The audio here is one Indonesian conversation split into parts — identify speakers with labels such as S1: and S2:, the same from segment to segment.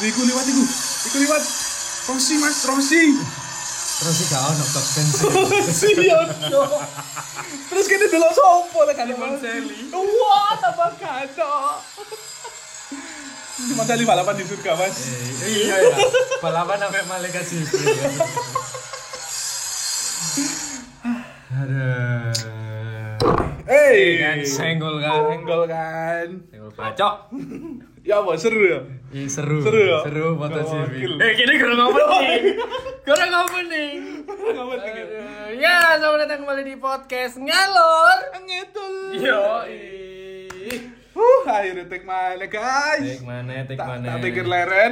S1: Iku liwat iku. Iku liwat. Rosi Mas, Rosi.
S2: Terus sih gak ono top fans.
S1: Rosi yo. ya, Terus kita delok sopo lah kan
S3: Iman Sally.
S1: Wah, tambah kado. Cuma Sally balapan di surga, Mas.
S2: Eh, Iya ya. Balapan sampai malaikat Jibril. Aduh.
S1: Hey,
S2: Kan senggol kan.
S1: senggol kan.
S2: Senggol bacok.
S1: Ya apa seru ya?
S2: Ih, seru.
S1: Seru ya?
S2: Seru foto
S1: Gokil.
S2: Eh, kini kurang opening. Kurang opening. Aduh, Ya, selamat datang kembali di podcast Ngalor
S1: Ngetul.
S2: Yo
S1: Huh, akhirnya take my leg, guys.
S2: Tik mana, tik
S1: Tak tak
S2: mana
S1: pikir leren.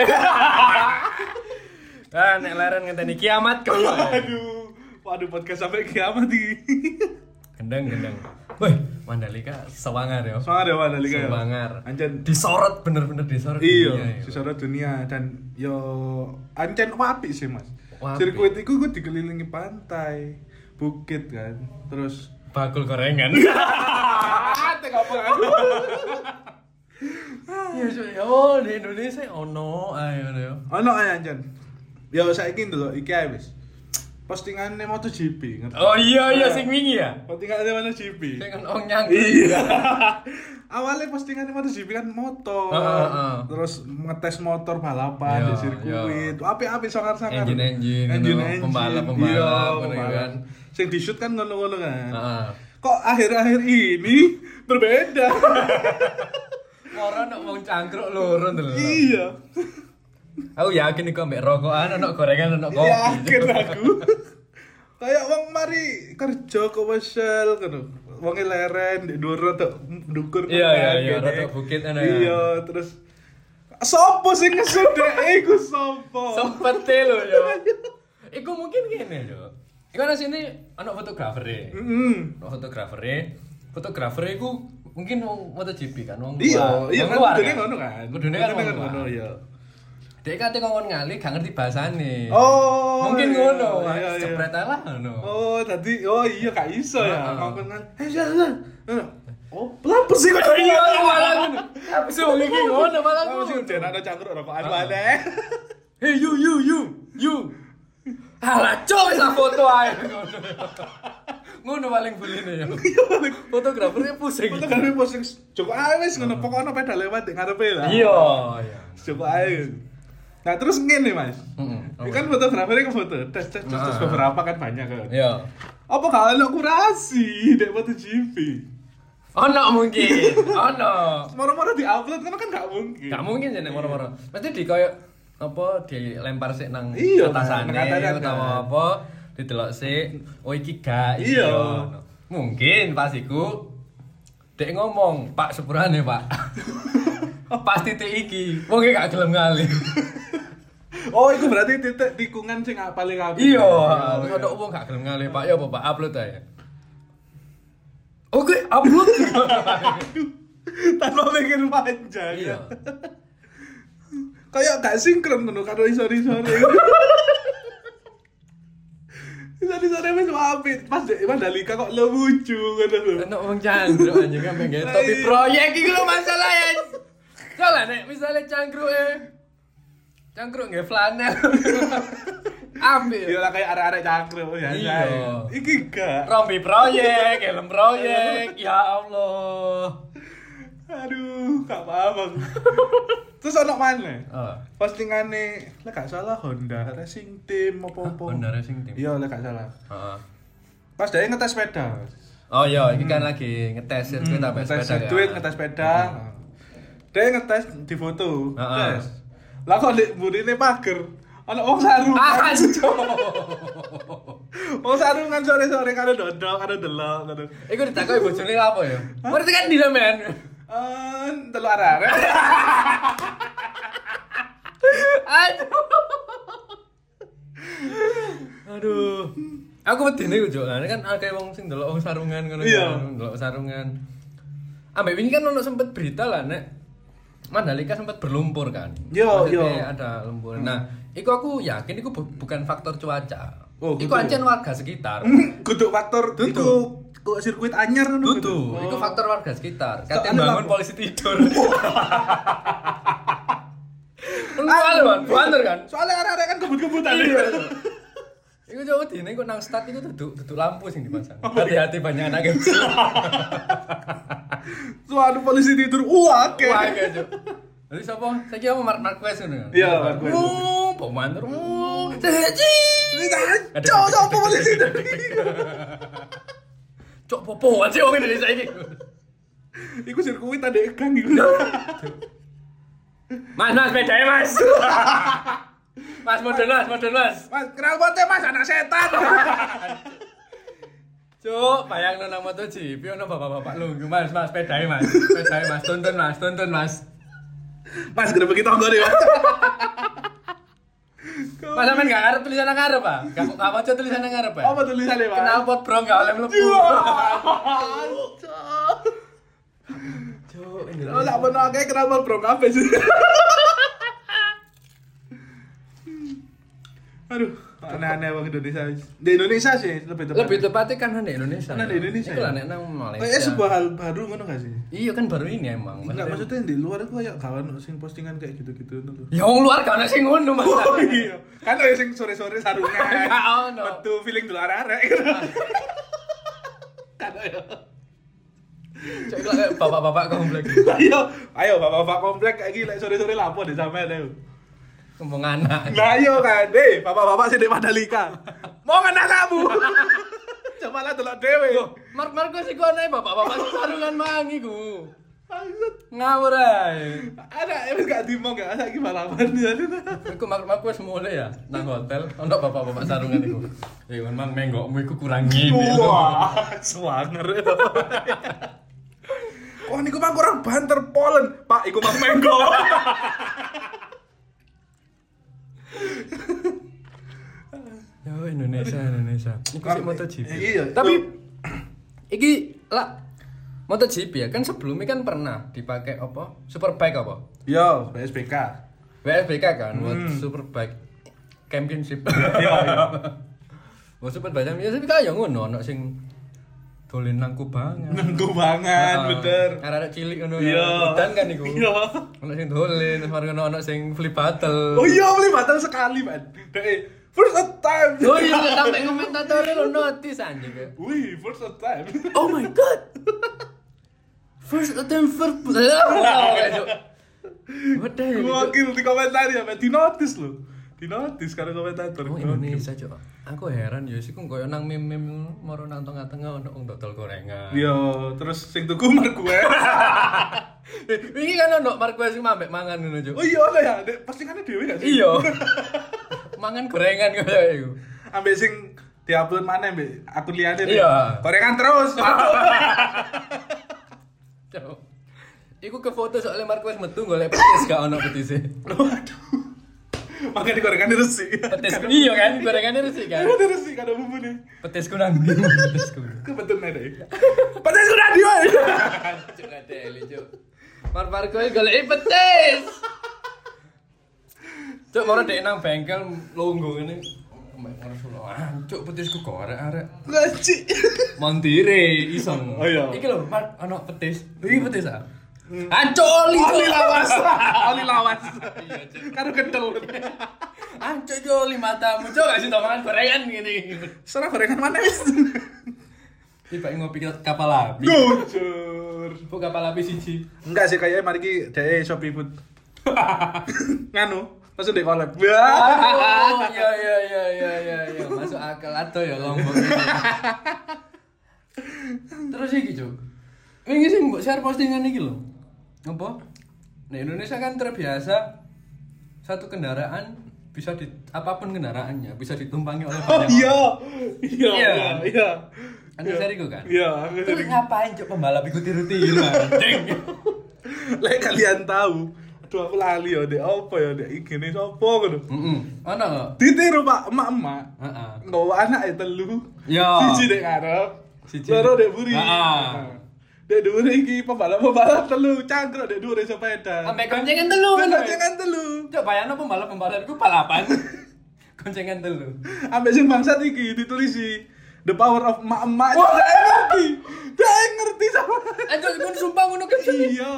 S2: Ah, nek leren ngenteni kiamat kok
S1: Waduh. Waduh podcast sampai kiamat iki.
S2: Gendeng, gendeng Woi, Mandalika sewangar yo
S1: Semangat ya Pak Dalika ya.
S2: Sewangar
S1: Anjen
S2: Disorot, bener-bener disorot ya.
S1: iya, sisora dunia dan yo ancen wapi sih Mas.
S2: Apik.
S1: Sirkuit itu gue dikelilingi pantai, bukit kan. Terus
S2: Bakul gorengan
S1: Iya. ah, tega banget.
S2: Iya, cuy. oh di Indonesia ono ya. ayo yo
S1: Ono ae anjen. Yo saiki ndelok iki ae wis. Postingane MotoGP ngerti.
S2: Oh iya, iya, sing wingi ya
S1: Postingane MotoGP.
S2: Sing ono nyangkut
S1: Iya. Awalnya postingannya MotoGP kan motor,
S2: Heeh, heeh.
S1: terus ngetes motor balapan
S2: Ah, Iya,
S1: di sirkuit, api-api sangar-sangar.
S2: Engine-engine,
S1: engine,
S2: ngono, pembalap-pembalap,
S1: iya,
S2: ngono
S1: pembalap.
S2: kan. Ah,
S1: Sing di shoot kan ngono-ngono kan.
S2: Heeh.
S1: Kok akhir-akhir ini berbeda?
S2: Orang nak mau cangkruk loro ndelok
S1: iya,
S2: Aku yakin iku ambek rokokan, ono gorengan, ono kopi.
S1: yakin aku. Kayak wong mari kerja ke Wesel ngono. Wonge leren, di dhuwur rada dukur.
S2: Iya, iya, iya,
S1: kene.
S2: rada bukit ana, ya.
S1: Iya, terus Sopo sing ngesudek iku sopo?
S2: Sempete e lho yo. Iku mungkin ngene yo. Iku ana sini ono fotografer e.
S1: Hmm.
S2: Ono fotografer e. Fotografer iku mungkin wong MotoGP kan wong
S1: Iya,
S2: luar.
S1: iya
S2: Wong
S1: kan
S2: luar
S1: kudune ngono kan.
S2: Kudune kan
S1: Kudune
S2: wong
S1: ngono
S2: luar.
S1: ya.
S2: Dek kate ngomong ngali gak ngerti bahasane.
S1: Oh,
S2: Mungkin
S1: iya,
S2: ngono.
S1: iya, iya.
S2: Cepret ae lah ngono.
S1: Oh, tadi oh iya gak iso ya.
S2: Heeh.
S1: Ngomong kan. Eh, jalan, jalan. Eh, Oh, pelapor sih kok.
S2: Iya, malah ngono. Abis wong iki ngono malah
S1: Pelapor sih
S2: ngono.
S1: udah Ah. ada cangkruk rokokan
S2: Heeh.
S1: maneh.
S2: Hey you you you you. Alah coy lah foto ae. Ngono paling beline ya.
S1: Iya,
S2: Fotografernya pusing.
S1: Foto gawe posting Joko ae wis ngono pokoknya peda lewat di ngarepe lah.
S2: Iya, iya.
S1: Joko ae. Nah, terus ngene, Mas.
S2: Heeh.
S1: Ini kan fotografernya ke foto, tes tes tes, tes
S2: Heeh.
S1: beberapa kan banyak kan.
S2: Ah. Iya.
S1: Apa kalau lo kurasi dek foto GP?
S2: Ono mungkin. Ono.
S1: Moro-moro di-upload kan kan gak mungkin.
S2: Gak mungkin jeneng moro-moro. Mesti di koyo apa dilempar sik nang
S1: Iya,
S2: atasane
S1: nang atasan,
S2: utawa
S1: kan.
S2: apa didelok sik. Oh iki gak iki,
S1: Iya.
S2: ono. Mungkin pas iku dek ngomong, "Pak sepurane, Pak." pas titik iki, wong iki gak gelem ngali.
S1: Oh, itu berarti titik tikungan sing nggak paling apik.
S2: iya, terus
S1: iya.
S2: ada wong gak gelem ngali, Pak. Ya apa, Pak? Upload aja. Oke, upload.
S1: Tanpa mikir panjang.
S2: Iya.
S1: Kayak gak sinkron ngono karo isore-isore. Isore-isore wis apik. Pas dek Mandalika kok lo lucu ngono lho.
S2: Enak wong cangkruk anjing kan pengen tapi
S1: Iya.
S2: proyek iki lho masalah ya. Salah nek misalnya cangkruk e. Cangkruk nggih flanel.
S1: Iya
S2: Ambil
S1: lah Iya, kayak arek-arek cangkruk ya.
S2: Iya.
S1: saya. Iki gak.
S2: rombi proyek, helm proyek. Ya Allah.
S1: Aduh, gak paham aku. Terus ono maneh.
S2: Oh.
S1: Postingane lek gak salah Honda Racing Team apa-apa.
S2: Honda Racing Team?
S1: Iya, lek gak salah.
S2: Heeh.
S1: Pas dia ngetes sepeda.
S2: Ah. Oh iya, ini kan lagi Hmm, ngetes sirkuit apa
S1: ngetes
S2: sepeda. ya. Ah.
S1: sirkuit, ngetes sepeda. Dia ngetes di foto. Tes.
S2: Heeh.
S1: Lah kok ndek mburine pager. Ana wong sarungan.
S2: Ah, anjo.
S1: Wong sarungan sore-sore kan karo dodol, karo delok ngono.
S2: Iku ditakoki bojone apa ya? Ngerti kan di sampean?
S1: Eh, delok arek-arek.
S2: Aduh. Aduh. Aku medine iku, Jok. Lah, ini kan akeh wong sing ndelok wong sarungan ngono.
S1: Iya.
S2: kan, Ndelok sarungan. Ambek wingi kan ono sempet berita lah nek Mandalika sempat berlumpur kan.
S1: Yo, Hmm.
S2: Maksudnya
S1: yo.
S2: ada lumpur. Nah, iku aku yakin iku bu- bukan faktor cuaca.
S1: Oh, Hmm.
S2: iku
S1: gitu.
S2: ancen warga sekitar.
S1: Kudu faktor itu kok sirkuit anyar ngono. Oh.
S2: Dudu, itu faktor warga sekitar. Katanya
S1: Soalnya
S2: bangun
S1: lapor.
S2: polisi tidur. Enggak lho. kan, banter kan.
S1: Soalnya arek-arek kan kebut-kebutan.
S2: Iya. Iku jauh di ini, nang start itu duduk duduk lampu sing dipasang.
S1: Oh, iya.
S2: Hati-hati banyak anak MC.
S1: Suara anu polisi tidur. Uh, Wah, oke.
S2: Wah, kayak gitu. Jadi siapa? Saya kira mau Mark Marquez ngono.
S1: Iya, Marquez.
S2: Oh, pemandu. Oh,
S1: Cok, cok, polisi tidur.
S2: Cok popo aja wong Indonesia ini.
S1: Iku sirkuit ada gang iku.
S2: Mas, mas, bedanya mas. mas, model mas, model mas.
S1: Mas, kenal bote Mas anak setan.
S2: Cuk, bayang nang motor GP ono bapak-bapak lungguh Mas, Mas, pedai Mas. Pedai Mas, tuntun Mas, tuntun Mas.
S1: Mas grebek kita nggone, ya, Mas.
S2: Mas sampean gak arep tulisan nang arep, Pak. Gak gak waca tulisan nang arep, Pak.
S1: Apa tulisannya, Mas? Iya.
S2: Kenal pot bro gak oleh mlebu.
S1: Cok.
S2: Cuk,
S1: Lo Oh, tak bener akeh kenapa bro kafe sih? Aduh, aneh-aneh bang Indonesia. Di Indonesia sih lebih tepat.
S2: lebih iya. tepatnya kan nang di Indonesia.
S1: Nang di Indonesia,
S2: Iku lah
S1: ya?
S2: nek nang Malaysia.
S1: Kayaknya sebuah hal baru ngono gak sih?
S2: Iya kan baru ini emang.
S1: Enggak maksudnya yang di luar itu kayak kawan sing postingan kayak gitu-gitu itu loh.
S2: Ya wong luar gak ono sing ngono, Mas.
S1: Oh iya, Ya, oh, kan ada sing sore-sore sarungan.
S2: Gak ono.
S1: Metu feeling dulu arek-arek. Kan ayo.
S2: Cuk, iku lah bapak-bapak komplek.
S1: Ayo, iya. ayo bapak-bapak komplek kayak gini like, sore-sore lapo deh sampean ayo.
S2: Ngomong anak.
S1: Nah yo kan, eh bapak-bapak sih di Mandalika. Mau kena kamu. Cuma lah delok dhewe.
S2: Mark Marquez iku ana bapak-bapak sarungan mangi ku.
S1: Maksud
S2: Ngawur ae.
S1: ada emang gak dimong gak ada gimana apaan dia itu.
S2: Iku mak mak wis mulai ya nang hotel ono bapak-bapak sarungan iku. Eh memang menggokmu iku kurang ngene. lho.
S1: Wah, swanger. Wah, niku mah kurang banter Polen. Pak, iku mah menggo.
S2: Yo Indonesia Indonesia. Iku sik MotoGP.
S1: eh, Iya,
S2: Tapi iki lah MotoGP ya kan sebelumnya kan pernah dipakai apa? Superbike apa?
S1: yo PSBK.
S2: WSBK kan, World
S1: Hmm.
S2: Superbike Championship.
S1: Yo, yo.
S2: World Superbike Championship kan ya ngono ono sing dolen nang kubangan.
S1: Nengku banget,
S2: Ah,
S1: bener.
S2: Arek-arek cilik ngono
S1: Iya.
S2: ya. Udan kan iku.
S1: Iya.
S2: Ono sing dolen, terus ono ono sing flip battle.
S1: Oh iya, beli batal sekali, man. Dek, first attempt.
S2: Oh iya, sampai komentatornya lo notice anjing ya.
S1: Wih, first attempt.
S2: Oh my god. First attempt for What the hell? Cuk?
S1: Gokil di komentar ya, man. di notice loh. Di notice karena komentator.
S2: Oh Indonesia cok. Aku heran ya sih kok koyo nang meme-meme ngono, moro nang tengah-tengah ono wong dodol gorengan.
S1: Yo, terus sing tuku Marquez.
S2: Eh, Ini kan ono Marquez sing mambek mangan ngono cok.
S1: Oh iya lah ya, Dek, postingannya dhewe gak sih?
S2: Iya. Mangan gorengan koyo iku.
S1: Ambek sing diupload mana mbek akun liyane. Dek.
S2: Iya.
S1: Korekan terus.
S2: Cok. Iku ke foto soalnya Marquez metu golek petis e. gak ono petisnya
S1: Waduh. Makanya dikorekan terus sih.
S2: Petis iya kan gorengannya resik kan.
S1: Korekan terus sih kada bumbune.
S2: Petisku nang ndi? Petisku.
S1: Kebetulan ada. Padahal ya. sudah dia.
S2: Cuk ada eli cuk. Mar Marco iki goleki petis. Cuk moro dek nang bengkel lungguh ngene. Mek ngerso lho. Ah, Cuk petisku korek arek.
S1: Ngaci.
S2: Montire iseng.
S1: Oh, iya. Hmm.
S2: Iki lho, Mar ono petis. Iki petis ah. Ancuk oli
S1: Oli
S2: Cuk.
S1: lawas. Oli lawas.
S2: Iya, Cuk.
S1: Karo kental.
S2: Ancuk iki oli matamu. Cuk gak sinta mangan gorengan ngene.
S1: Serah korekan mana wis.
S2: Tiba ngopi ke kapal api.
S1: Gocur.
S2: Bu kapal api siji.
S1: Enggak sih kayaknya mari ki dhek Shopee Food. Nganu, langsung dek collab. Wah.
S2: Oh, iya iya iya iya iya iya masuk akal atau ya lombok ini. Terus iki, Cuk. Wingi sing mbok share postingan iki lho. Apa? Nah, Indonesia kan terbiasa satu kendaraan bisa di apapun kendaraannya bisa ditumpangi oleh
S1: Oh
S2: banyak.
S1: iya. Iya.
S2: Iya.
S1: Iya.
S2: Anu seriku kan?
S1: Iya, aku
S2: Terus
S1: sering.
S2: ngapain cuk pembalap iku tiru-tiru Iya, anjing.
S1: Lek kalian tahu, aduh aku lali ya dek apa ya dek igene sapa ngono.
S2: Heeh. Ono nggak?
S1: Ditiru Pak emak-emak.
S2: Heeh.
S1: Nggawa anak e telu.
S2: Ya.
S1: Siji dek arep.
S2: Siji.
S1: Loro dek buri. Nah.
S2: Heeh.
S1: Dek dhuwure iki pembalap-pembalap telu cangkruk dek dhuwure sepeda.
S2: Ambek goncengan telu kan?
S1: Benar kan telu.
S2: Coba bayangno pembalap-pembalap iku balapan. goncengan telu.
S1: Ambek sing bangsat iki ditulisi The power of emak-emak. Wah, dia ngerti. Dia ngerti sama.
S2: Anjir, gue sumpah ngono kan.
S1: Iya.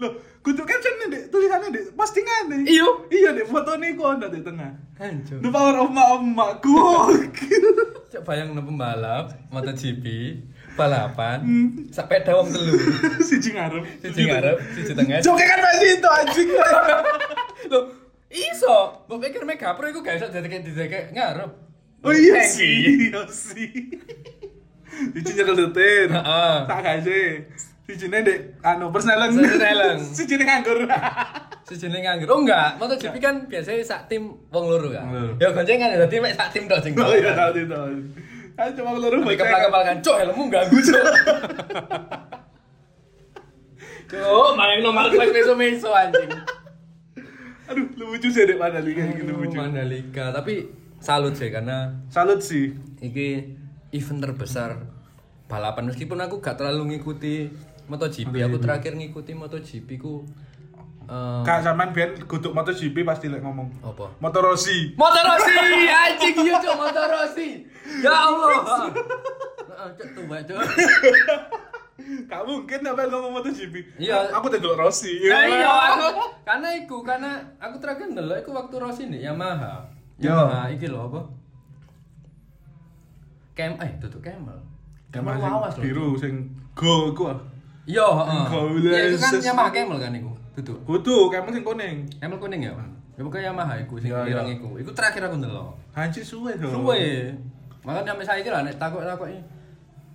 S1: Loh, kudu caption nih, Dek. Tulisan ana di postingan nih.
S2: Iya.
S1: Iya di foto nih kok ana di tengah.
S2: Hancur.
S1: The power of ma emak gokil.
S2: Cok bayang pembalap MotoGP balapan sampai dawang telu.
S1: Siji ngarep.
S2: Siji ngarep, siji tengah.
S1: Joke kan masih itu anjing.
S2: Loh, iso. Mbok pikir Mega Pro iku gak iso dadi didekek ngarep.
S1: Oh iya
S2: Eh,
S1: sih, iya sih. Siji nyeledetin.
S2: Heeh.
S1: Tak gaje. Sijine dek anu persneleng.
S2: Persneleng.
S1: Sijine nganggur.
S2: Sijine nganggur. Oh enggak, MotoGP kan biasanya sak tim wong loro kan.
S1: Wong loro.
S2: Ya goncengan dadi mek sak tim tok sing.
S1: Oh iya tahu itu. Aku cuma keluar rumah.
S2: kepal kan, cok helmmu ganggu cok. Cok, main nomor kelas meso-meso anjing.
S1: Aduh, lucu sih dek mana lagi kayak gitu lucu.
S2: Oh, Mandalika, tapi salut sih karena
S1: Salut sih.
S2: iki event terbesar balapan meskipun aku gak terlalu ngikuti MotoGP aku terakhir ngikuti MotoGP ku eh,
S1: Kak Saman biar kutuk MotoGP pasti lek ngomong.
S2: apa
S1: Motorosi.
S2: Motorosi anjing iya cok Motorosi ya Allah Heeh, cok tuh cok
S1: Gak mungkin apa ngomong MotoGP.
S2: Iya.
S1: Aku tengok Rossi.
S2: ya iya aku karena iku karena aku terakhir ndelok iku waktu Rossi nih Yamaha
S1: Yo.
S2: Yamaha iki lho apa Kem eh tutup Camel Camel
S1: sing
S2: lawas lho
S1: biru sing go iku. ah.
S2: Iya, heeh.
S1: Gaulnya
S2: Ya itu kan
S1: sesuatu.
S2: Yamaha Camel kan iku. Duduk.
S1: Kutu, kamu sing kuning.
S2: Camel kuning ya? Ya pokoknya Yamaha iku sing
S1: Iya,
S2: ireng
S1: iya.
S2: iku. Iku terakhir aku ndelok.
S1: Hanci suwe dong.
S2: Suwe. Makanya sampai saiki lah nek takut-takoki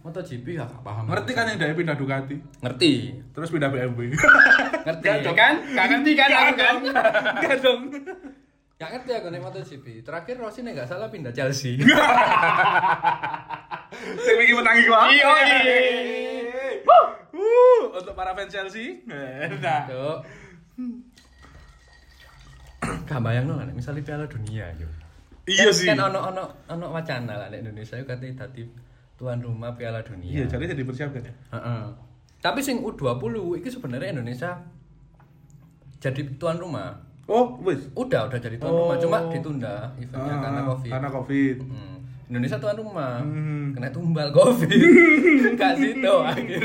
S2: MotoGP ya, gak paham.
S1: Ngerti kan yang dari pindah Ducati,
S2: Ngerti.
S1: terus pindah BMW.
S2: Ngerti
S1: Gak dong.
S2: kan? Gak ngerti kan aku kan?
S1: Enggak dong.
S2: Gak ngerti aku nek MotoGP. Terakhir Rossi nek gak salah pindah Chelsea.
S1: Sing iki menangi gua.
S2: Iya, iya.
S1: Wuh, untuk para fans Chelsea. Nah.
S2: Cuk. Gak bayang lah, nek misalnya Piala Dunia yo.
S1: Iya
S2: Kan-
S1: sih.
S2: Kan ono ono ono wacana lah nek Indonesia yo katanya dadi tuan rumah Piala Dunia.
S1: Iya, jadi jadi persiapkan ya.
S2: Heeh. Tapi sing U20 itu sebenarnya Indonesia jadi tuan rumah.
S1: Oh, wis.
S2: Udah, udah jadi tuan
S1: Oh.
S2: rumah, cuma ditunda eventnya
S1: Ah,
S2: kan karena Covid.
S1: Karena Covid.
S2: Hmm. Indonesia tuan rumah,
S1: Hmm.
S2: kena tumbal Covid. Gak situ akhirnya.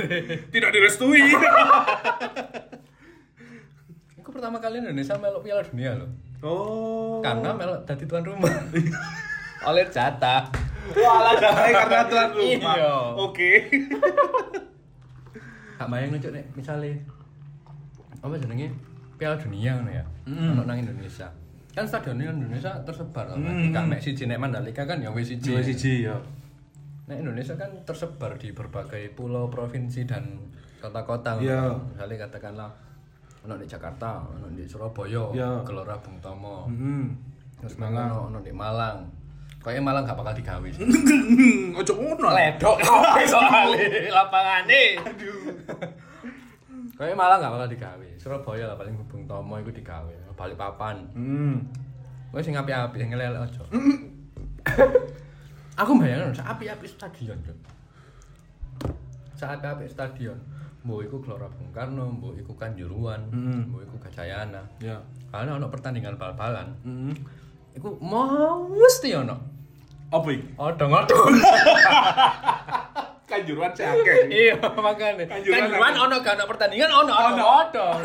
S1: Tidak direstui.
S2: Itu pertama kali Indonesia melok Piala Dunia loh.
S1: oh.
S2: Karena melok jadi tuan rumah. Oleh jatah.
S1: Walah, dasarnya karena tuan rumah.
S2: Iya.
S1: Oke.
S2: Gak bayang lucu nih, misalnya apa jenenge Piala Dunia ngono ya. Ono nang Indonesia. Kan stadionnya Indonesia tersebar to. Kan gak mek siji nek Mandalika kan ya wis siji.
S1: ya.
S2: Nah, Indonesia kan tersebar di berbagai pulau, provinsi dan kota-kota.
S1: Iya.
S2: Misalnya katakanlah ono di Jakarta, ono di Surabaya,
S1: Iya.
S2: Gelora Bung Tomo,
S1: Hmm.
S2: terus Malang, ono di Malang. Kayaknya Malang gak bakal digawe. sih.
S1: Ojo ngono.
S2: Ledok kabeh soalnya lapangane. Aduh. Kayaknya Malang gak bakal digawe. Surabaya lah paling Bung Tomo iku digawe. Balikpapan.
S1: Hmm.
S2: Wes sing apik-apik sing elek aja. Aku bayangin sak apik-apik stadion, Cuk. Sak apik-apik stadion. Mbok iku Gelora Bung Karno, mbok iku Kanjuruan, mbok iku Gajayana.
S1: Ya.
S2: Ana ono pertandingan bal-balan.
S1: Hmm.
S2: Iku mau mesti ono.
S1: Apa iki?
S2: Odong-odong.
S1: Kanjuruan sih akeh.
S2: Iya, makane.
S1: Kanjuruan
S2: Kanjuruan ono gak ono pertandingan ono ono odong.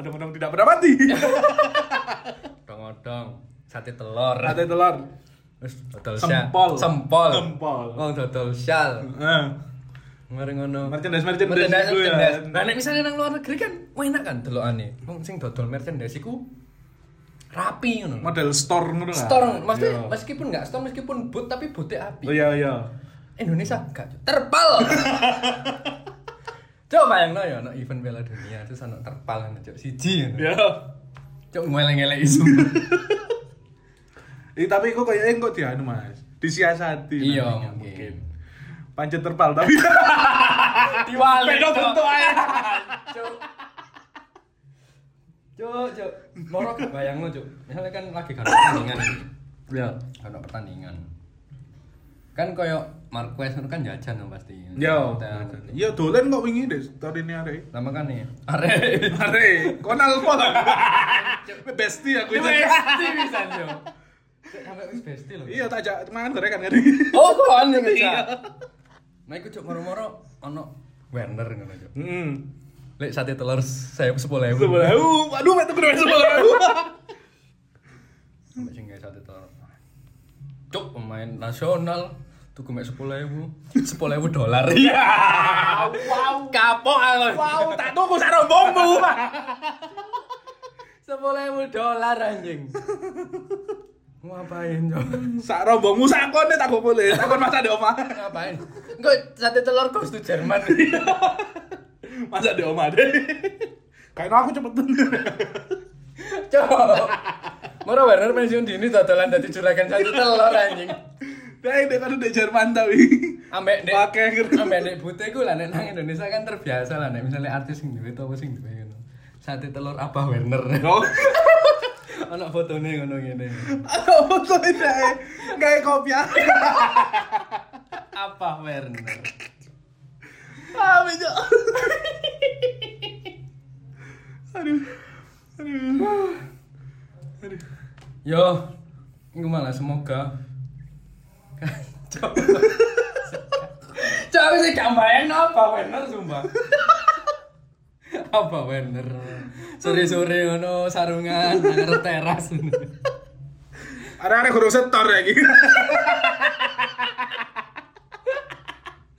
S1: Odong-odong tidak pernah mati.
S2: Odong-odong. Sate telur.
S1: Sate telur.
S2: Wes dodol syal.
S1: Sempol.
S2: Sempol.
S1: Sempol.
S2: Wong dodol syal.
S1: Heeh.
S2: Mari ngono.
S1: Merchandise merchandise
S2: merchandise
S1: gitu ya.
S2: merchandise. Nah, nek misalnya nang luar negeri kan enak kan delokane. Wong sing dodol merchandise iku rapi ngono.
S1: Model store ngono lah.
S2: Store, maksudnya
S1: Iya.
S2: meskipun enggak store meskipun boot tapi bootnya api.
S1: Oh iya iya.
S2: Indonesia enggak, Cuk. terpal. Coba bayangno ya ono event Piala Dunia terus ono terpal ngono, Cuk. Siji ngono.
S1: Ya.
S2: Cuk ngeleng-ngeleng isu.
S1: Eh, tapi kok kayaknya kok dia anu Mas. Disiasati.
S2: Iya,
S1: nantinya
S2: mungkin. Iya.
S1: Pancet terpal tapi
S2: Diwali.
S1: Beda
S2: Cuk.
S1: bentuk ae.
S2: Cuk. Cuk, cuk. Moro bayangno, Cuk. Misalnya kan lagi gak ada pertandingan.
S1: Ya.
S2: Gak ada pertandingan. Kan koyo Marquez itu kan jajan dong pasti.
S1: Ya.
S2: Hotel.
S1: Ya dolen kok wingi deh story ini arek.
S2: Lama kan nih. Arek.
S1: Arek, konal pol. Besti
S2: Iya,
S1: aku itu.
S2: Besti bisa, Cuk. Cuk, Sampai wis besti loh.
S1: Iya, tak ajak mangan gorengan kan.
S2: Oh, kan ngecak. Nah, iku cuk moro-moro ono Werner ngono, Cuk.
S1: Heeh.
S2: Lek sate telur sayap sepuluh ewu.
S1: Sebelah aku, aduh metu kena sebelah aku.
S2: Sampai sing gawe sate telur. Cuk, pemain nasional tuku mek 10.000, 10.000 dolar. Iya. Wow, kapok ah, aku.
S1: Wow, tak tuku sak rombongmu.
S2: 10.000 dolar anjing. Ngapain, Cok?
S1: Sak rombongmu sak kone tak gopo le. Takon masa di omah.
S2: Ngapain? Engko sate telur kos tuh Jerman.
S1: Masa di omah deh. Kayaknya aku cepetan.
S2: Cok. Moro Werner pensiun dini dodolan dadi juragan sate telur anjing.
S1: Dai dek kan di Jerman tapi.
S2: Ambek nek
S1: Pakai ngerti.
S2: Sampai nek bute ku lah nek nang Indonesia kan terbiasa lah nek misalnya artis sing duwe apa sing duwe ngono. Sate telur Abah Werner.
S1: Oh.
S2: Ana fotone ngono ngene.
S1: Aku foto ini kayak eh. kopi ah. aku.
S2: Abah Werner.
S1: Ah, bejo. Aduh. Aduh. Aduh.
S2: Yo, iku malah semoga. Cok, aku sih gak bayangin Abah Werner sumpah. Abah Werner. Sore-sore ngono sarungan nang teras.
S1: Ada-ada kurang setor ya gitu.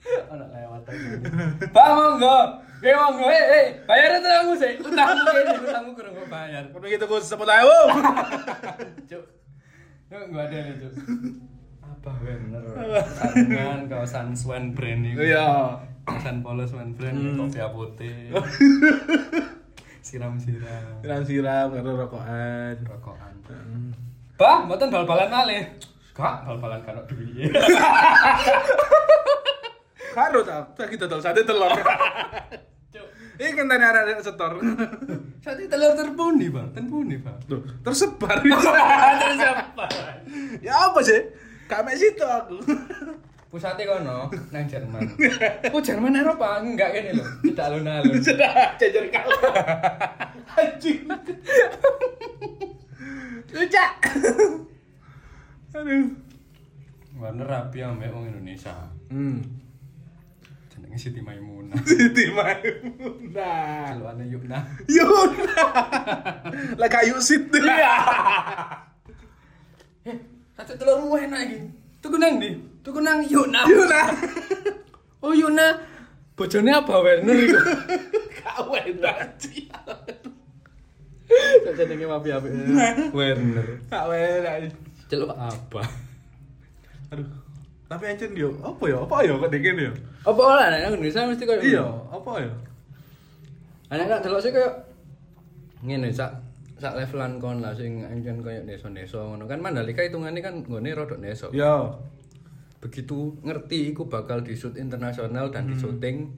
S2: Anak lewat aja. Pak monggo. Ge monggo. Eh, eh, bayar utangmu sih. Utangmu kene, utangmu kurang gue bayar.
S1: Kalau gitu gue sepuluh ewu.
S2: Cuk. Cuk, gua ada nih, Cuk. Apa bener? Sarungan kawasan Swan Brand ini.
S1: Iya.
S2: Kawasan Polo Swan Brand, kopi putih. Siram-siram.
S1: Siram-siram karena rokokan.
S2: Rokokan. Bah, mboten bal-balan malih. Hmm. Kak, bal-balan kan kok duit.
S1: Karo tak, tak kita telur sate telur.
S2: Cuk.
S1: Ini kan tanya ada setor.
S2: Sate telur terpundi, Bang. Terpundi, Bang.
S1: Tuh, tersebar.
S2: Terus apa?
S1: ya apa sih? Kamek situ aku.
S2: pusatnya kono nang Jerman oh Jerman Eropa enggak kene lho tidak alun-alun
S1: Sudah jajar kalah. Anjing.
S2: lucak
S1: Aduh.
S2: warna rapi ambek wong Indonesia
S1: Hmm.
S2: jenenge Siti Maimunah
S1: Siti Maimunah.
S2: celukane Yukna
S1: Yuna. Lah kayu sit.
S2: Iya. eh sate telurmu enak iki tuku nang ndi tuku nang Yukna
S1: Yuna.
S2: oh Yukna bojone apa Werner iku
S1: Kawen tadi.
S2: jenenge wapi apik Werner
S1: Kawen. anjing.
S2: celuk apa
S1: Aduh. Tapi anjir dia, apa ya? Apa ya kok dingin ya?
S2: apa ora nek nang Indonesia mesti koyo
S1: Iya, apa ya?
S2: Anak kan delok sih koyo ngene sak sak levelan kon lah sing encen koyo desa-desa ngono kan Mandalika hitungane kan nggone rodok desa.
S1: Yo.
S2: Begitu ngerti iku bakal di shoot internasional dan di syuting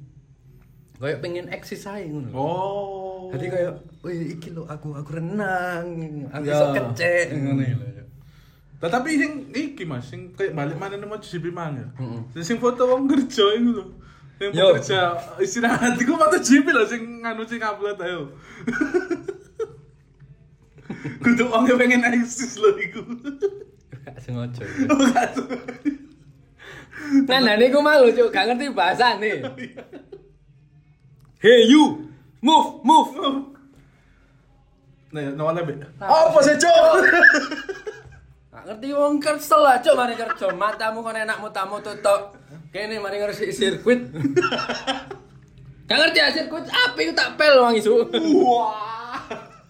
S2: koyo pengen eksis ae ngono. lho.
S1: Oh.
S2: Jadi koyo wih iki lho aku aku renang, aku
S1: Ya.
S2: iso kecek ngono iki lho. ya.
S1: Tetapi sing iki Mas, sing kayak balik mana nemu JP Manga.
S2: Mm-mm.
S1: Sing foto wong kerja iku lho. Sing
S2: Yo.
S1: kerja istirahat iku foto JP lho sing nganu sing upload ayo. Kudu wong yang pengen eksis lho iku.
S2: Gak sengaja.
S1: Gak tuh.
S2: Nah, nah niku malu cuk, gak ngerti bahasa nih. Hey you, move, move.
S1: Nah, ya, nomor lebih.
S2: Nah.
S1: Apa sih, Cok?
S2: Nggak ngerti wong kerja lah, cok mari kerja. Matamu kan enak matamu tutup. Kene mari ngersi sirkuit. Gak ngerti ya sirkuit apa itu tak pel wong isu.
S1: Wah.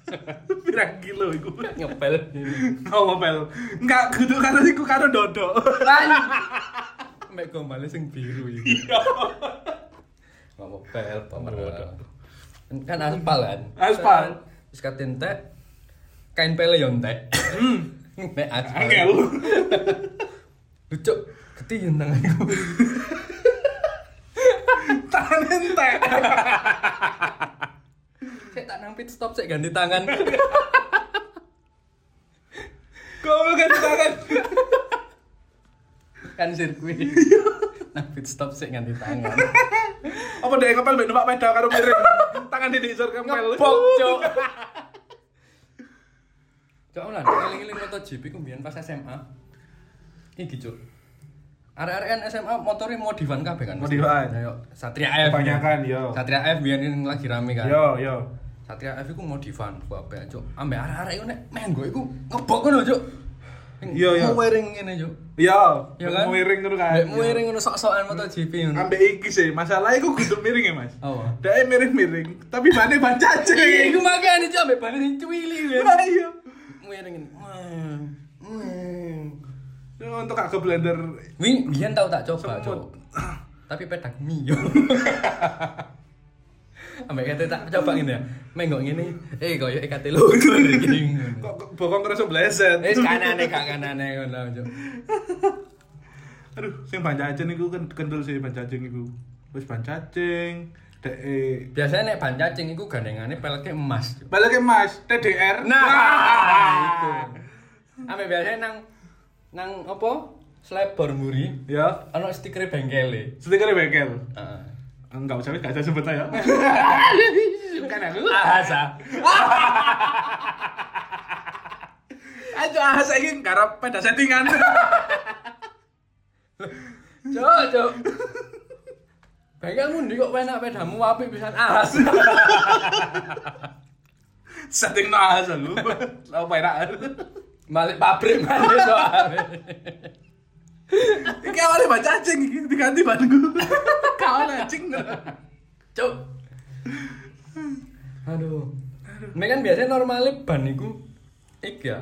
S1: Pirang kilo iku.
S2: Ngepel.
S1: Ngomong pel. Enggak, kudu karo iku karo dodo.
S2: Kan. Mek gombale sing biru iki. Ngomong pel pemerah. Kan aspal kan.
S1: Aspal.
S2: Wis katentek. Kain pele yo entek. Hmm. Nek aspal.
S1: Angel.
S2: Lucu. Gede yang tanganku.
S1: Tangan entek.
S2: Saya tak nang pit stop saya ganti tangan.
S1: Kau ganti tangan.
S2: kan sirkuit nah pit stop sih ganti tangan
S1: Apa deh kepel mbak numpak peda karo piring. Tangan di disor kepel.
S2: ngebok cok gitu, cok lah ngeling-ngeling MotoGP ku mbiyen pas SMA iki cok Arek-arek SMA motornya mau divan kabeh kan. mesti?
S1: Modivan.
S2: Ayo Satria F.
S1: Kebanyakan, yo.
S2: Satria F biyen ini lagi rame kan.
S1: Yo yo.
S2: Satria F iku mau divan ku apik ya, cuk. Ambek arek-arek iku nek menggo iku ngebok ngono cuk.
S1: Iya, iya.
S2: Muwering ngene cuk.
S1: Yo.
S2: Ya kan?
S1: Miring ngono kan.
S2: Nek muwering ngono sok-sokan MotoGP ngono.
S1: Ambek iki sih, masalahnya iku kudu miring ya, Mas.
S2: Apa?
S1: Dae miring-miring, tapi bane
S2: Iya,
S1: bancacing.
S2: iku makane cuk ambek balen cuwili kan.
S1: Ayo.
S2: Muwering ngene. Wah. Wah.
S1: Yo untuk aku blender.
S2: Wing biyen tau tak coba
S1: Semut.
S2: cuk. Tapi pedak mio. Ambek kate tak coba ngene ya. Menggo ngene. Eh koyo kate logo iki.
S1: Kok kok bokong ngerasa bleset.
S2: Eh kanane kak kanane ngono cuk.
S1: Aduh, sing bancacing iku kan kendel sih bancacing iku. Wis bancacing. Dae
S2: Biasanya nek ban cacing iku gandengannya peleknya emas. Cuk.
S1: balik ke Mas, TDR.
S2: Nah,
S1: Wah.
S2: itu. Ambe biasanya nang nang apa? Selebor muri.
S1: Ya,
S2: Ono stiker bengkele.
S1: stiker bengkel.
S2: Heeh.
S1: Enggak usah, enggak usah sebut aja. Kan aku.
S2: Ahasa.
S1: Aduh, ah saiki garap pada settingan.
S2: Cuk, cuk. Bengkelmu ndi kok penak pedamu apik pisan ahas.
S1: Setting no ah lu. Apa enak.
S2: Balik pabrik balik soalnya.
S1: Iki awalnya baca cacing iki diganti banku. Kawan anjing.
S2: Cuk. Aduh. Nek kan biasanya normalnya ban iku iki ya.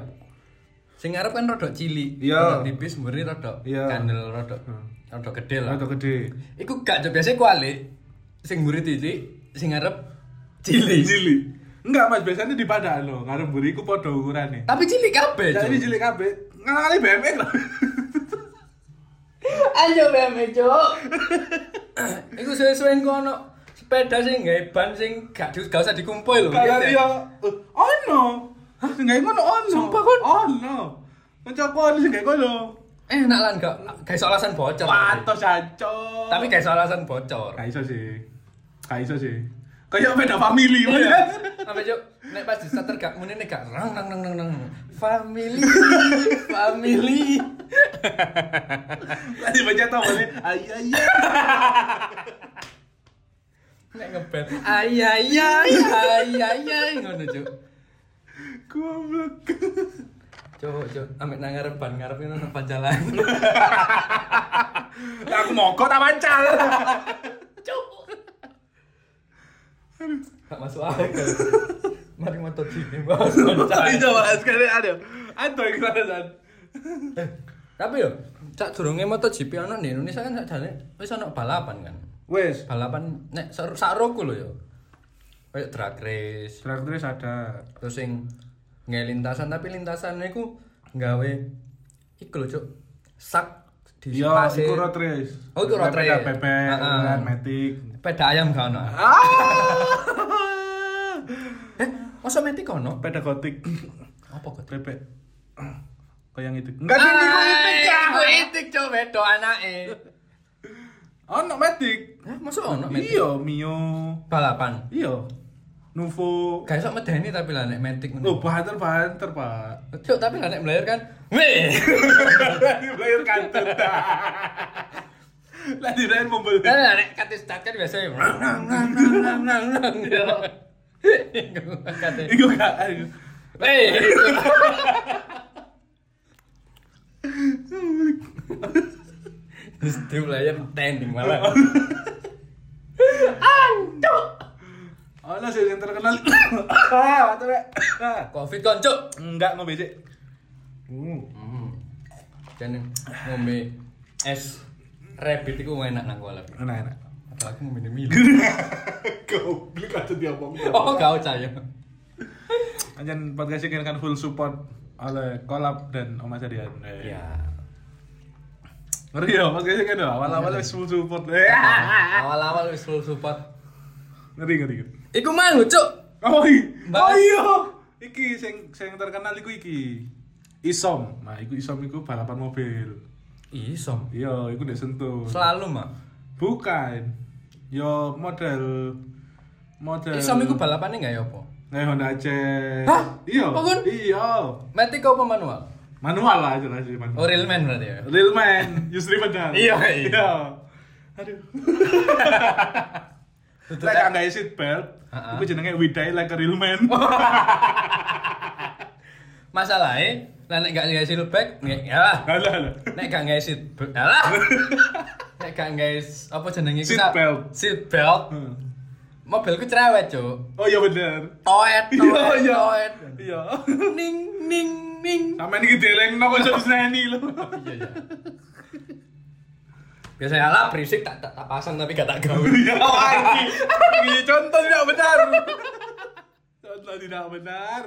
S2: Sing ngarep kan rodok cilik,
S1: Iya.
S2: rodok tipis, muri rodok
S1: Iya.
S2: kandel rodok. Rodok gede lah.
S1: Atau gede.
S2: Iku gak cok biasanya kuali. Sing muri titik, sing ngarep cilik.
S1: Cilik. Enggak, Mas, biasanya di padaan lo. Karena buri ku padha ukurane.
S2: Tapi cilik kabeh. Cok.
S1: Jadi cilik kabeh. Ngalali BMX lah.
S2: Ayo BMW, Cuk. Iku sesuai engko ono sepeda sing gawe ban sing gak di, gak usah dikumpul lho.
S1: Kalau
S2: Gitu ya.
S1: dia eh, ono. Hah, sing gawe ngono ono.
S2: Sumpah, kon?
S1: Ono. Kancaku ono sing gawe ngono.
S2: Enak lan gak gak iso alasan bocor.
S1: Patos anco.
S2: Tapi gak iso alasan bocor.
S1: Gak iso sih. Gak iso sih. kan- Iya. Kayak beda family. Mas.
S2: Apa cuk? Nek pas di starter gak muni nek gak rang rang rang rang rang. Family, family.
S1: Tadi baca tau boleh. Ayo ayo.
S2: Nek ngebet. Ay ay ay ay ay ay ngono cuk.
S1: Goblok.
S2: Cuk cuk, ambek nang ngarep ban ngarep ngono nang ban jalan.
S1: Lah aku mogok tak pancal.
S2: Cuk. Gak masuk akal. Mari motor sini bahas
S1: Tapi
S2: ban.
S1: coba sekali ada. Ada yang sana San.
S2: Tapi yo, cak durunge MotoGP ono di Indonesia kan sak jane wis ono balapan kan.
S1: Wes,
S2: Balapan nek sak sak roku lho yo. Kayak drag race,
S1: terakhir terus ada.
S2: terus sing nggak lintasan tapi lintasannya ku nggawe iku lho cuk sak di
S1: Yo,
S2: pasir.
S1: iku road race.
S2: Oh, iku road
S1: Pepeda
S2: race.
S1: Pepe,
S2: Ah, ah.
S1: kan metik.
S2: peda ayam gak ono
S1: Ah!
S2: eh masa metik ono
S1: Peda gotik.
S2: apa kok
S1: Pepe. Koyang itu. Enggak sih iku itik ya.
S2: aku itik cuk bedo anake
S1: Ono metik.
S2: Hah, masa ono metik
S1: Oh, Iya, Mio.
S2: balapan
S1: Iya. Nuvo.
S2: gak iso medeni tapi lah nek metik
S1: Loh,
S2: ngono
S1: banter-banter, Pak.
S2: cuk tapi lah nek belayar kan weh
S1: Lagi bayar kantut. Lagi bayar membeli.
S2: Lah, lah nek kate start kan biasa nang nang nang nang nang Iku kate
S1: Iku gak. ayo.
S2: Hey. Itu belajar tending malah.
S1: Ono sih yang Oh, terkenal. Ah, betul Pak. Ah.
S2: Covid konco.
S1: Enggak ngombe sih. Hmm.
S2: Jadi ngombe es rabbit itu enak nang kuala.
S1: Enak enak.
S2: Apalagi ngombe mili.
S1: Kau beli kata dia bang.
S2: Oh, kau caya.
S1: Anjan podcast ini kan full support oleh kolab dan Om Mas Adian. Eh.
S2: Ya.
S1: Ngeri ya, podcast ini kan
S2: Iya.
S1: awal-awal wis full support. Eh.
S2: Awal-awal wis full support.
S1: Ngeri ngeri. ngeri.
S2: Iku mang cuk.
S1: Oh iya.
S2: Mbak-
S1: Oh iya. Iki sing sing terkenal iku iki. Isom. Nah, iku Isom iku balapan mobil.
S2: Isom.
S1: Iya, iku ndek sentuh.
S2: Selalu mah.
S1: Bukan. Yo model model
S2: Isom iku balapane enggak ya apa?
S1: Nah, Honda Jazz.
S2: Hah?
S1: Iya.
S2: Apa, Gun?
S1: Iya.
S2: Matic apa manual?
S1: manual lah jelas sih manual
S2: Oh, real man berarti ya?
S1: real man Yusri benar
S2: Iya, iya.
S1: aduh
S2: Tutut
S1: lek nggak seat belt
S2: eh. Ha-ha. Oh.
S1: aku jenenge Widai like a real man
S2: Masalahnya, lah nek gak ngasih lubek, nge- ya lah.
S1: Alah, alah.
S2: Nek gak ngasih seat belt, ya lah. Nek gak ngasih apa jenenge
S1: Seat
S2: kita-
S1: belt.
S2: Seat belt.
S1: Hmm.
S2: Mobilku cerewet, Cuk.
S1: oh iya bener
S2: Toet,
S1: iya
S2: toet,
S1: iya
S2: toet.
S1: iya
S2: Ning ning ning.
S1: sama ini dieleng no kok jam seni lo
S2: Iya, iya. Biasanya lah berisik tak tak, tak pasang tapi gak tak gawe.
S1: iya lagi ini contoh tidak benar contoh tidak benar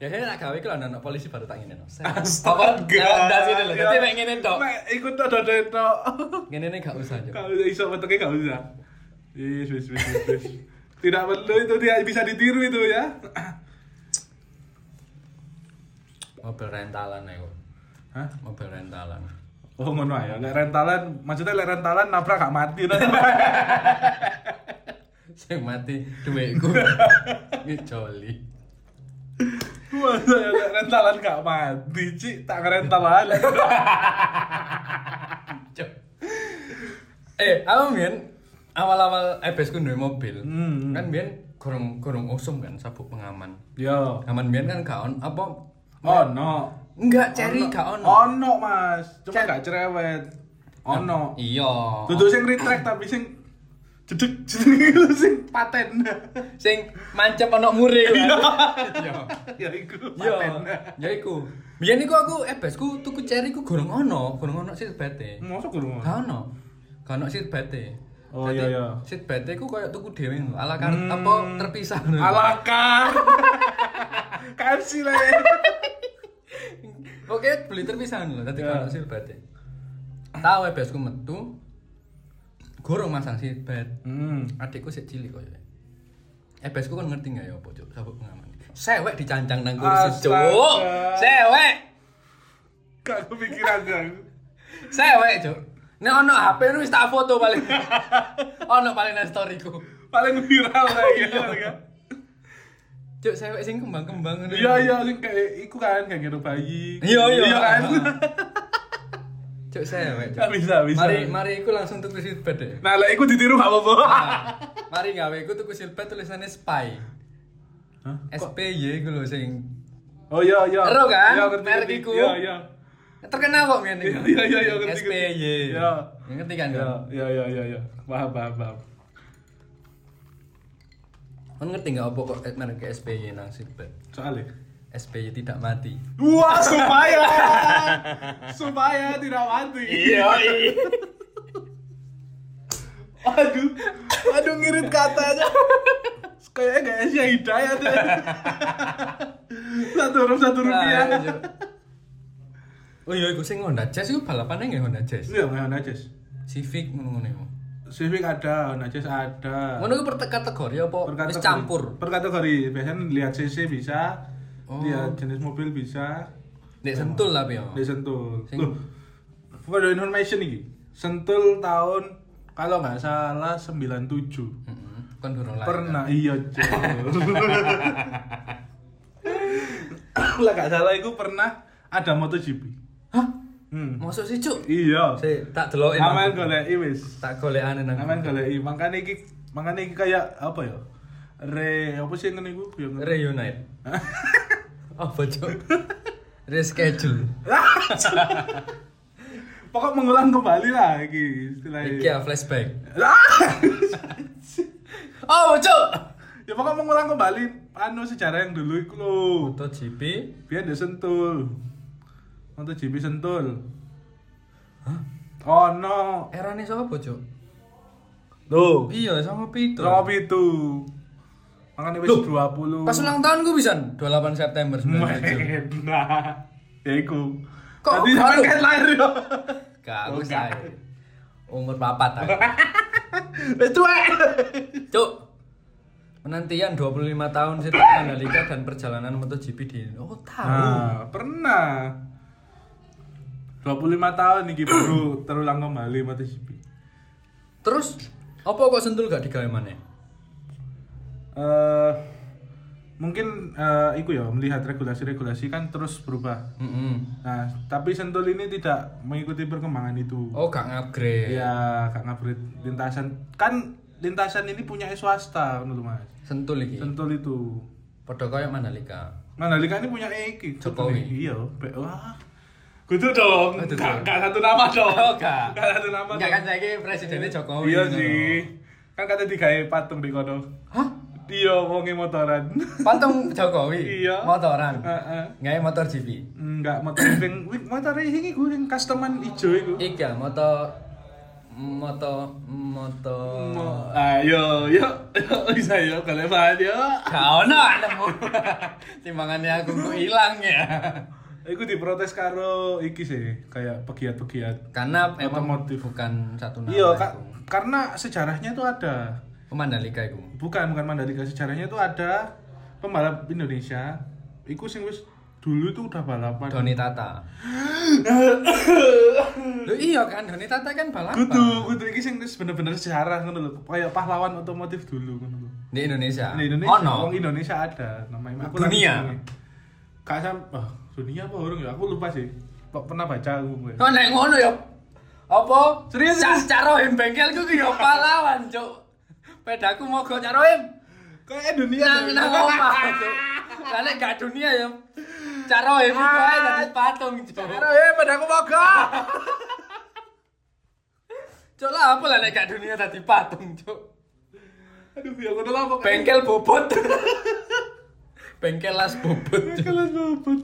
S2: Ya saya nak gawe kalau anak polisi baru tak ngene no.
S1: Astaga.
S2: Das ini lho. Dadi
S1: Iya.
S2: mek ngene tok.
S1: Mek, ikut tak ada
S2: Ngene ne gak usah yo.
S1: Kalau iso metoknya gak bisa. Yes, yes, yes, yes, yes. Tidak perlu itu dia bisa ditiru itu ya.
S2: Mobil rentalan aku.
S1: Hah?
S2: Mobil rentalan.
S1: Oh ngono ya, lek rentalan, maksudnya lek rentalan nabrak gak mati no.
S2: Sing mati dhuwitku. Ngejoli.
S1: Masa ya lek rentalan gak mati, Cik, tak rental aja.
S2: Cuk. Eh, aku mbiyen awal-awal ebesku duwe mobil.
S1: Hmm.
S2: Kan mbiyen gorong-gorong usum kan sabuk pengaman.
S1: Yo.
S2: Pengaman mbiyen kan gak on apa?
S1: Ono.
S2: Enggak, ceri gak ono.
S1: Ono, Mas. Cuma
S2: Cet.
S1: gak cerewet. Ono.
S2: Iya.
S1: Dudu sing retract tapi sing jedek jedek itu sing paten.
S2: Sing mancep ono mure kan. Iya.
S1: Ya iku
S2: Iya,
S1: paten.
S2: ya iku. Biyen iku aku ebesku tuku ceri ku gorong ono, gorong ono sirbate.
S1: Mosok guru.
S2: Ga ono. Ga ono e. sirbate.
S1: Oh, iya, iya. Hmm.
S2: Sirbate e ku koyo tuku dhewe ngono, ala kan apa terpisah ngono.
S1: Alakar. KFC lah. ya.
S2: Oke, beli terpisah ngono lho, dadi e.
S1: Iya.
S2: ga ono sirbate. Tau ebesku e metu gorong masang sirbat.
S1: Hmm.
S2: Adikku sik cilik koyo. Ebesku kan ngerti gak ya apa, Cuk? Sabuk pengaman. Sewek dicancang nang kursi, Cuk.
S1: Astaga.
S2: Sewek.
S1: Gak kepikiran Jang.
S2: Sewek, Cuk. Nek ono HP nu wis tak foto paling. ono paling nang storyku.
S1: Paling viral lah ya. kan?
S2: Cuk, sewek sing kembang-kembang ngono.
S1: Iya iya sing kayak iku kan kayak gitu bayi.
S2: Iya, iya.
S1: kan.
S2: Cuk, sewek,
S1: Gak
S2: Cuk.
S1: bisa bisa.
S2: Mari mari iku langsung tuku silbet deh.
S1: Nah, lah iku ditiru gak apa-apa.
S2: Nah, mari gawe iku tuku silbet tulisannya spy.
S1: Hah?
S2: SPY iku lho sing
S1: Oh iya iya.
S2: Ero kan?
S1: Iya ngerti.
S2: Merek
S1: ngerti.
S2: iku.
S1: Iya iya.
S2: terkenal kok ngene.
S1: Iya, iya, iya, iya, ngerti, ngerti.
S2: SPY.
S1: Iya.
S2: Ya, Ngerti kan?
S1: Iya
S2: Kon?
S1: iya iya iya iya. Paham paham paham.
S2: Kon ngerti enggak apa kok eh, merek SPY nang silbet?
S1: Soalnya
S2: SPY tidak mati.
S1: Wah, supaya supaya tidak mati. iya. Aduh, aduh ngirit katanya.
S2: Nah,
S1: Kayaknya gak Asia Hidayat ya. satu huruf iya. satu rupiah.
S2: Nah, Cuk. Oh iya, iku sing Honda Jazz iku balapannya nggih Honda Jazz.
S1: Iya, Honda Jazz.
S2: Civic ngono-ngono iku.
S1: Iya. Civic ada, Honda Jazz ada.
S2: Ngono iku per kategori apa
S1: Per
S2: wis
S1: kategori-
S2: campur?
S1: Per kategori, biasanya lihat CC bisa,
S2: Oh.
S1: lihat jenis mobil bisa, Iya.
S2: Nek sentul lah pio.
S1: di Sentul.
S2: Sing-
S1: Loh, for the information ini, Sentul tahun kalau nggak salah 97.
S2: Heeh. Kon durung lahir.
S1: Pernah iya, Cuk. Lah gak salah iku pernah ada MotoGP.
S2: Hah?
S1: Hmm.
S2: Masuk sih, Cuk.
S1: Iya.
S2: Si tak deloki.
S1: Aman goleki wis.
S2: Tak golekane nang.
S1: Aman goleki. Makane iki makane iki kayak apa ya? Re apa sih ngene iku? Ya ngene.
S2: Reunite. Apa, Cuk? Reschedule.
S1: Pokok mengulang kembali lah iki
S2: Iki
S1: istilahnya.
S2: ya flashback.
S1: Ah!
S2: Oh, Cuk.
S1: ya pokok mengulang kembali anu sejarah yang dulu iku lho.
S2: MotoGP.
S1: Biar dia sentul. MotoGP sentul. Hah? Oh no.
S2: Erane sapa, Cuk?
S1: Tuh.
S2: Iya, sama Pito.
S1: Rop itu. Makanya wis
S2: Loh,
S1: 20.
S2: Pas ulang tahun gue bisa 28 September 97.
S1: Men, Nah. Ya iku.
S2: Kok-
S1: Tadi sampe
S2: kok-
S1: kan lahir yo.
S2: Gak,
S1: Oh,
S2: aku
S1: gak.
S2: saya umur papat aku.
S1: Wis tuwek.
S2: Cuk. Penantian 25 tahun setelah Mandalika dan perjalanan MotoGP di Oh, tahu.
S1: Nah, pernah. 25 tahun iki baru terulang kembali MotoGP.
S2: Terus apa kok sentul gak digawe maneh?
S1: Eh mungkin eh, iku ya melihat regulasi-regulasi kan terus berubah.
S2: Mm-mm.
S1: Nah, tapi Sentul ini tidak mengikuti perkembangan itu.
S2: Oh, gak ngupgrade.
S1: Ya, Kak Ngabrit lintasan kan lintasan ini punya swasta ngono lho, Mas.
S2: Sentul iki.
S1: Sentul itu.
S2: Padha koyo Mandalika.
S1: Mandalika ini punya E iki.
S2: Jokowi.
S1: Iya, be- wah. Kudu dong.
S2: Kudu
S1: Gak
S2: dong.
S1: gak satu nama dong.
S2: Oh, gak.
S1: Gak satu nama.
S2: Enggak
S1: dong.
S2: kan saiki presidennya Jokowi.
S1: Iya
S2: ngono.
S1: sih. Kan kata digawe patung di kono.
S2: Hah?
S1: Iya, wonge motoran.
S2: Patung Jokowi.
S1: Iya.
S2: Motoran.
S1: Heeh.
S2: Nggak motor GP.
S1: Enggak motor racing, wih motor racing iku yang customan ijo iku.
S2: Iki ya, moto moto moto
S1: Mo- Ayo, Oh, ah, yo, yo bisa yo kalian paham yo.
S2: Kau no nemu timbangannya aku kok hilang ya.
S1: Iku diprotes karo iki sih, kayak pegiat-pegiat.
S2: Karena emang
S1: Otomotif.
S2: bukan satu nama.
S1: Iya,
S2: itu.
S1: Kak, karena sejarahnya itu ada.
S2: Oh, Mandalika itu.
S1: Bukan, bukan Mandalika, sejarahnya itu ada pembalap Indonesia. Iku sing wis dulu itu udah balapan.
S2: Doni Tata. Loh iya kan Doni Tata kan balapan.
S1: Kudu, kudu iki sing wis bener-bener sejarah ngono lho, kayak pahlawan otomotif dulu ngono lho.
S2: Di Indonesia.
S1: Di Indonesia, Iya.
S2: Ono.
S1: orang Indonesia ada namanya. Aku
S2: Oh, Dunia.
S1: lagi- Kak Sam, ah, dunia apa orang ya? Aku lupa sih. Kok pernah baca aku gue.
S2: Oh nek ngono ya. Apa?
S1: Serius?
S2: Ca- Cara rohim bengkelku ku ya pahlawan, Cuk. Pedaku mogok cara rohim.
S1: Kayak dunia.
S2: Nang
S1: Doi.
S2: nang omah, Cuk. Lah nek gak dunia ya. Cara rohim ku ae dadi patung, Cuk.
S1: Karo ya pada aku mogok.
S2: Cuk lah apa lah nek gak dunia dadi patung, Cuk.
S1: Aduh, ya aku udah lama.
S2: Bengkel bobot. Bengkel las bobot, Cuk.
S1: kelas bobot.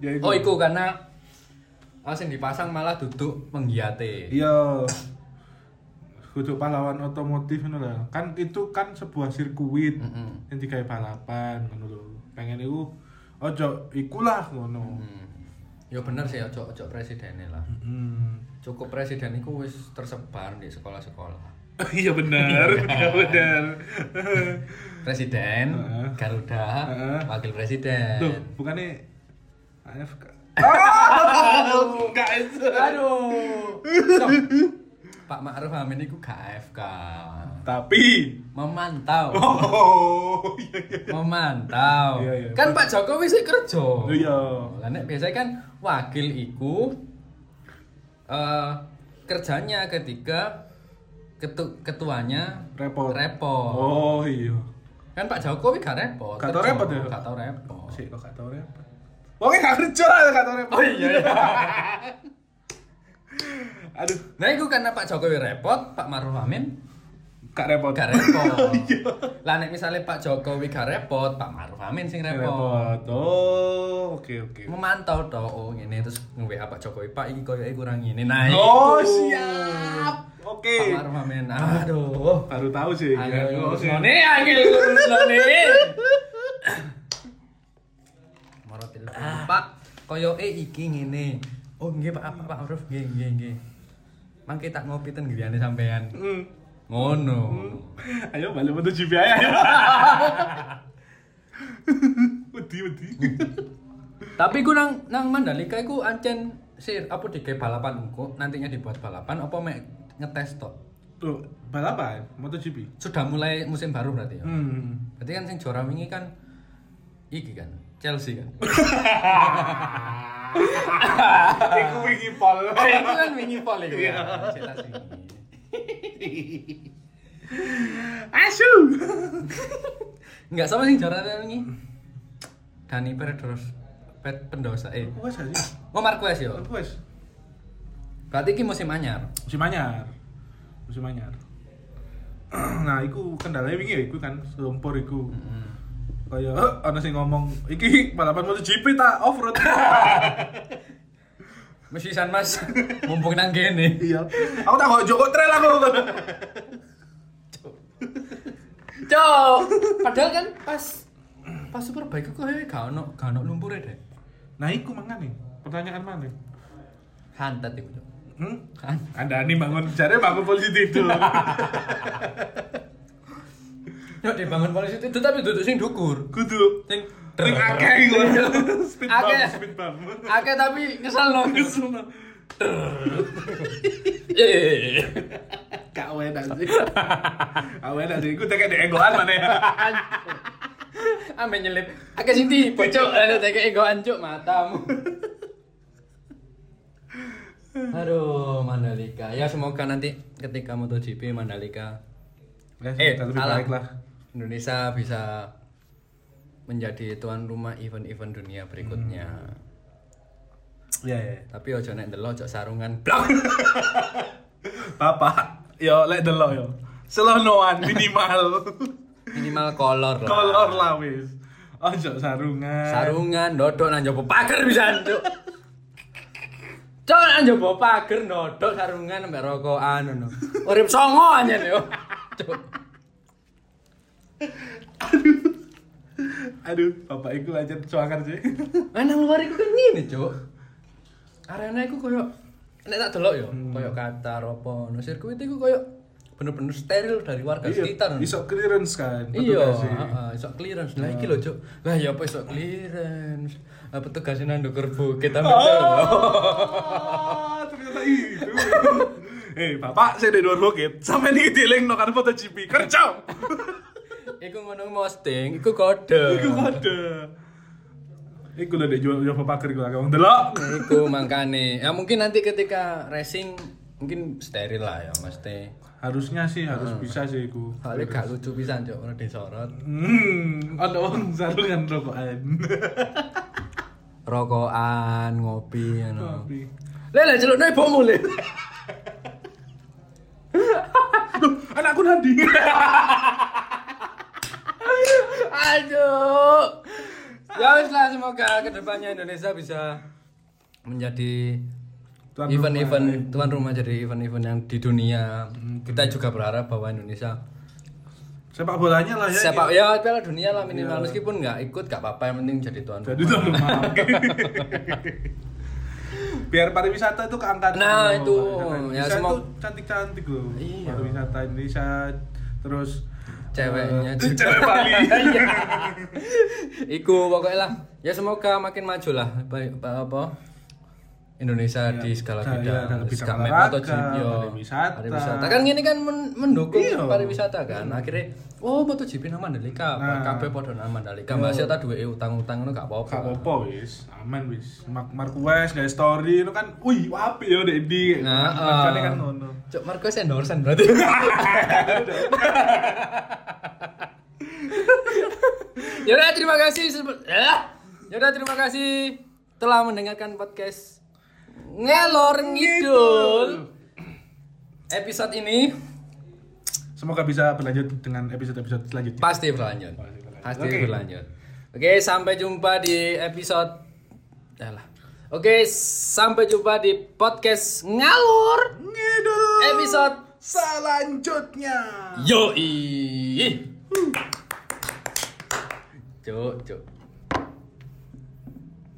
S1: Ya iku.
S2: Oh, iku karena Oh, sing dipasang malah duduk penggiate.
S1: Iya. Kudu pahlawan otomotif ngono lah. Kan itu kan sebuah sirkuit
S2: Mm-mm.
S1: yang digawe balapan ngono lho. Pengen iku ojo ikulah ngono.
S2: Hmm. Ya bener sih ojo ojo presidennya lah.
S1: Hmm.
S2: cukup presiden itu wis tersebar di sekolah-sekolah
S1: Iya benar, iya benar. Eh,
S2: presiden
S1: Heeh.
S2: Garuda
S1: Heeh.
S2: wakil presiden
S1: Tuh, bukannya AFK. Aduh, guys.
S2: aduh Cok. Pak Ma'ruf Amin itu KFK
S1: Tapi
S2: memantau
S1: oh iya iya.
S2: memantau
S1: Iya, iya.
S2: kan Pak Jokowi sih kerja
S1: Iya.
S2: Lah, nek biasanya kan wakil iku eh, kerjanya ketika ketu- ketuanya
S1: Repot.
S2: repot
S1: Oh iya.
S2: kan Pak Jokowi gak repot
S1: Gak tau
S2: kerja.
S1: repot ya?
S2: gak tau repot
S1: Sik kok gak tau repot. Wong gak kerja lah gak tau repot.
S2: Oh iya iya.
S1: Aduh,
S2: Nah itu karena Pak Jokowi repot, Pak Maruf Amin
S1: gak repot.
S2: gak repot. lah nek misalnya Pak Jokowi gak repot, Pak Maruf Amin sing
S1: Gak
S2: repot.
S1: repot. Oh, oke oke.
S2: Memantau toh, oh ngene terus nge-WA Pak Jokowi, Pak iki koyo kurang ngene. Nah, iku.
S1: Oh, siap. Oke.
S2: Pak Maruf Amin. Aduh.
S1: Baru tahu sih.
S2: Angel
S1: Gak- oke.
S2: ngene, angel ngene. Marot telepon, Pak. Koyo e iki ngene. Oh nggih Pak, Pak, Pak Maruf nggih nggih nggih. Mangke tak ngopi ten griyane sampean.
S1: Hmm.
S2: Ngono.
S1: Ayo balik metu GPI ayo. Wedi wedi.
S2: Tapi ku nang nang Mandalika iku ancen sir apa digawe balapan engko nantinya dibuat balapan apa mek ngetes tok.
S1: Tuh, balapan MotoGP.
S2: Sudah mulai musim baru berarti ya.
S1: Hmm.
S2: Berarti kan sing juara wingi kan iki kan Chelsea kan.
S1: Iku wingi pol.
S2: itu kan wingi pol iku. ya. Chelsea wingi.
S1: Asu.
S2: Enggak sama sing juara wingi. Dani Pedros Pet pendosa eh
S1: Wes aja.
S2: Oh Marquez yo.
S1: Wes.
S2: Berarti iki musim anyar.
S1: Musim anyar. Musim anyar. Nah, iku kendalanya wingi ya iku kan selumpur iku. Kaya "Eh, ana sing ngomong iki balapan MotoGP ta off road.
S2: Mesti san Mas mumpung nang kene.
S1: iya. Aku tak kok Joko trail aku.
S2: Cok. Padahal kan pas pas superbike kok hewe gak ono gak ono lumpure deh.
S1: Nah, iku mangane. Pertanyaan mana?
S2: Hantet iku, Cok.
S1: Hmm?
S2: Kan.
S1: Anda nih bangun, cari bangun positif dulu.
S2: Yo dibangun polisi itu tapi duduk sing dhukur.
S1: Kudu.
S2: Sing
S1: Ring akeh iku. Speed
S2: Iya. Akeh.
S1: bump, speed bump.
S2: Akeh tapi kesel no.
S1: Kesel. no.
S2: Eh.
S1: Kak Ah, Wena sih. Kak Wena sih, iku tekek dek enggoan mana ya.
S2: Ambe nyelip. Akeh sing eh, tiba, Cuk. Ada tekek goan, Cuk, matamu. Aduh, Mandalika. Ya semoga nanti ketika MotoGP Mandalika
S1: Ya,
S2: Eh,
S1: kita lebih
S2: salah.
S1: baik lah.
S2: Indonesia bisa menjadi tuan rumah event-event dunia berikutnya.
S1: Hmm. Iya, iya.
S2: Tapi ojo nek ndelok ojo sarungan. Blok.
S1: Bapak, yo lek delok yo. Selonoan minimal.
S2: Minimal kolor lah.
S1: Kolor lah wis. Ojo sarungan.
S2: Sarungan ndodok nang njaba pager bisa, Cuk. Cuk nang njaba pager ndodok sarungan mbek rokokan ngono. Urip songo anjen yo. Cuk.
S1: Aduh, bapak iku aja cuakar sih.
S2: Nah, nang luar iku kan ngene, Cuk. Arena iku koyo nek tak delok yo, koyo Qatar apa ngono. Sirkuit iku koyo bener-bener steril dari warga sekitar. ngono.
S1: iso Iya, clearance kan.
S2: Iya,
S1: petugas sih.
S2: heeh, iso clearance. Lah iki lho, Cuk. Lah ya apa iso clearance? Lah petugasnya nang ndukur bukit ambil
S1: Ah, ternyata itu. Eh, bapak saya di luar bukit. Sampai nih dieling no kan foto GP. Kerja.
S2: Iku ngono posting, iku kode.
S1: Iku ada. Iku udah jual jual paker gue agak delok.
S2: Iku makane. Ya mungkin nanti ketika racing mungkin steril lah ya mesti.
S1: Harusnya sih harus bisa sih iku.
S2: Soalnya gak lucu pisan cok ono disorot.
S1: Hmm, ada orang sarungan rokokan. Nah.
S2: Rokokan, ngopi ngono.
S1: Tapi,
S2: Lele celukne bomu le.
S1: Loh, anakku nanti.
S2: Aduh. Ya wis lah semoga kedepannya Indonesia bisa menjadi
S1: Tuan
S2: event-event tuan rumah jadi event-event yang di Hmm, dunia. Kita juga berharap bahwa Indonesia
S1: Sepak bolanya lah ya.
S2: sepak ya Piala Dunia lah minimal meskipun nggak ikut nggak apa-apa yang penting jadi tuan
S1: Jadi
S2: rumah.
S1: tuan rumah. Oke. Biar pariwisata itu keangkat.
S2: Nah, itu. Ya,
S1: Ya,
S2: semua-
S1: itu cantik-cantik loh.
S2: Iya.
S1: Pariwisata Indonesia terus eh,
S2: Ceweknya juga.
S1: cewek Bali.
S2: Iya. Iku pokoknya lah. Ya semoga makin maju lah apa- apa, apa Indonesia di segala
S1: ya,
S2: bidang,
S1: dalam bidang
S2: Skala
S1: olahraga,
S2: MotoGP, yo.
S1: pariwisata.
S2: Pariwisata. Kan ini kan men- mendukung
S1: Iya.
S2: pariwisata kan. Akhirnya oh MotoGP nang Mandalika,
S1: Nah.
S2: kabeh padha nang Mandalika. Mbak Sia tak duwe utang-utang ngono gak apa-apa.
S1: Gak apa wis, aman wis. Mark Marquez guys story itu kan, wih, apik ya Dedi.
S2: Nah,
S1: Makanya
S2: eh.
S1: kan ngono.
S2: Cok Marcos endorsean berarti. ya udah terima kasih sebe- ya Ya udah terima kasih telah mendengarkan podcast Ngelor Ngidul. Episode ini
S1: Semoga bisa berlanjut dengan episode-episode selanjutnya.
S2: pasti berlanjut. Pasti
S1: Oke.
S2: berlanjut. Oke, sampai jumpa di episode Alah. Oke, sampai jumpa di podcast Ngalur
S1: Ngidul.
S2: episode
S1: selanjutnya.
S2: Yoi. Cuk, cuk.